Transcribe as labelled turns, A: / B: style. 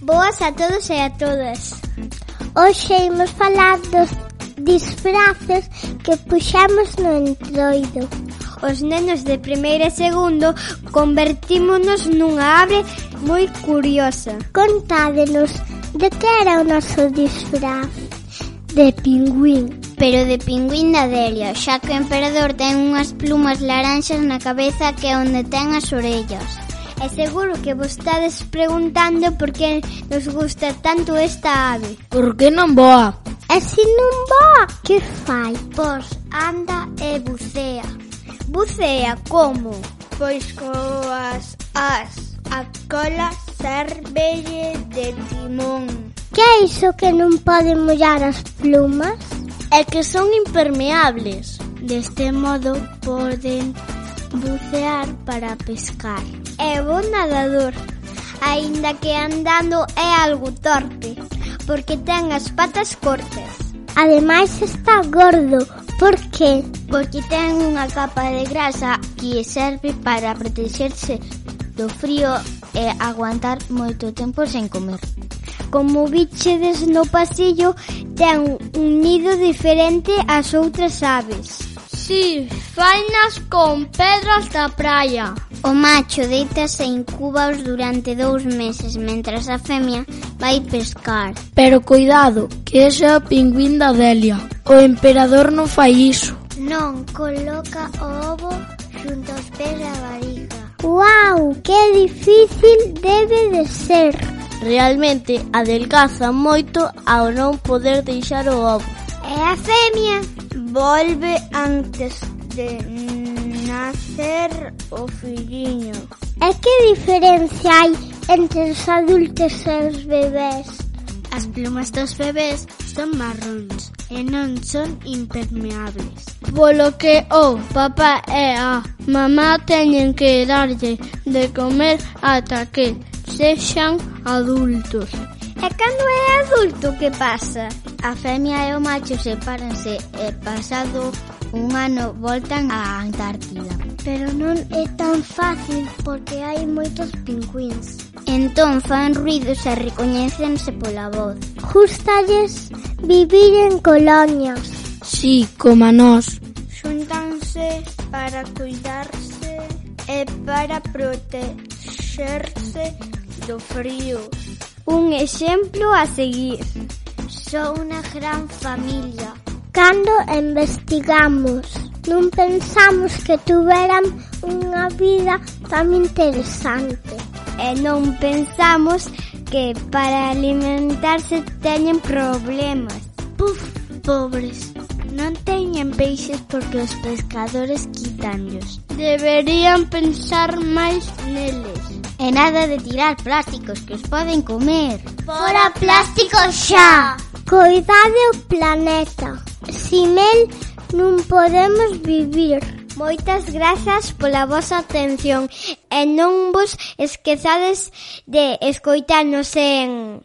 A: Boas a todos e a todas.
B: Hoxe imos falar dos disfraces que puxamos no entroido.
A: Os nenos de primeiro e segundo convertímonos nunha ave moi curiosa.
B: Contádenos de que era o noso disfraz.
C: De pingüín.
D: Pero de pingüín da Delia, xa que o emperador ten unhas plumas laranxas na cabeza que é onde ten as orellas.
A: E seguro que vos estades preguntando por que nos gusta tanto esta ave.
C: Por que non voa?
B: E se non voa, que fai?
D: Pois anda e bucea.
A: Bucea como?
E: Pois coas as. A cola servelle de timón.
B: Que é iso que non poden mollar as plumas?
F: É que son impermeables. Deste modo poden bucear para pescar.
A: É bon nadador, aínda que andando é algo torpe, porque ten as patas cortas.
B: Ademais está gordo, por qué?
D: Porque ten unha capa de grasa que serve para protexerse do frío e aguantar moito tempo sen comer.
A: Como bichedes no pasillo, ten un nido diferente ás outras aves.
G: Sí, fainas con pedras da praia.
D: O macho deitase en cubaos durante dous meses mentras a femia vai pescar.
C: Pero cuidado, que ese é o pingüín da Delia. O emperador non fai iso.
D: Non, coloca o ovo xunto aos pés da variga.
B: Uau, que difícil debe de ser.
F: Realmente adelgaza moito ao non poder deixar o ovo.
B: Eh,
A: É a femia
E: volve antes de nacer o filliño.
B: E que Eh, diferencia hai entre os adultos e os bebés?
F: As plumas dos bebés son marróns e non son impermeables.
G: Polo que o papá e a mamá teñen que darlle de comer ata que sexan adultos.
A: E cando é adulto que pasa?
D: A femia e o macho sepáranse e pasado un ano voltan á Antártida.
B: Pero non é tan fácil porque hai moitos pingüins.
D: Entón fan ruidos e recoñécense pola voz.
B: Justalles vivir en colonias.
C: Sí, como a nós.
E: Xuntanse para cuidarse
A: eh,
E: e para protexerse do frío.
A: Un exemplo a seguir.
D: Son unha gran familia.
B: Cando investigamos, non pensamos que tuveran unha vida tan interesante.
A: E non pensamos que para alimentarse teñen problemas.
F: Puf, pobres. Non teñen peixes porque os pescadores quitanllos.
G: Deberían pensar máis neles.
D: E nada de tirar plásticos que os poden comer.
H: Fora plástico xa!
B: Coidade o planeta. Sin el non podemos vivir.
A: Moitas grazas pola vosa atención e non vos esquezades de escoitarnos en...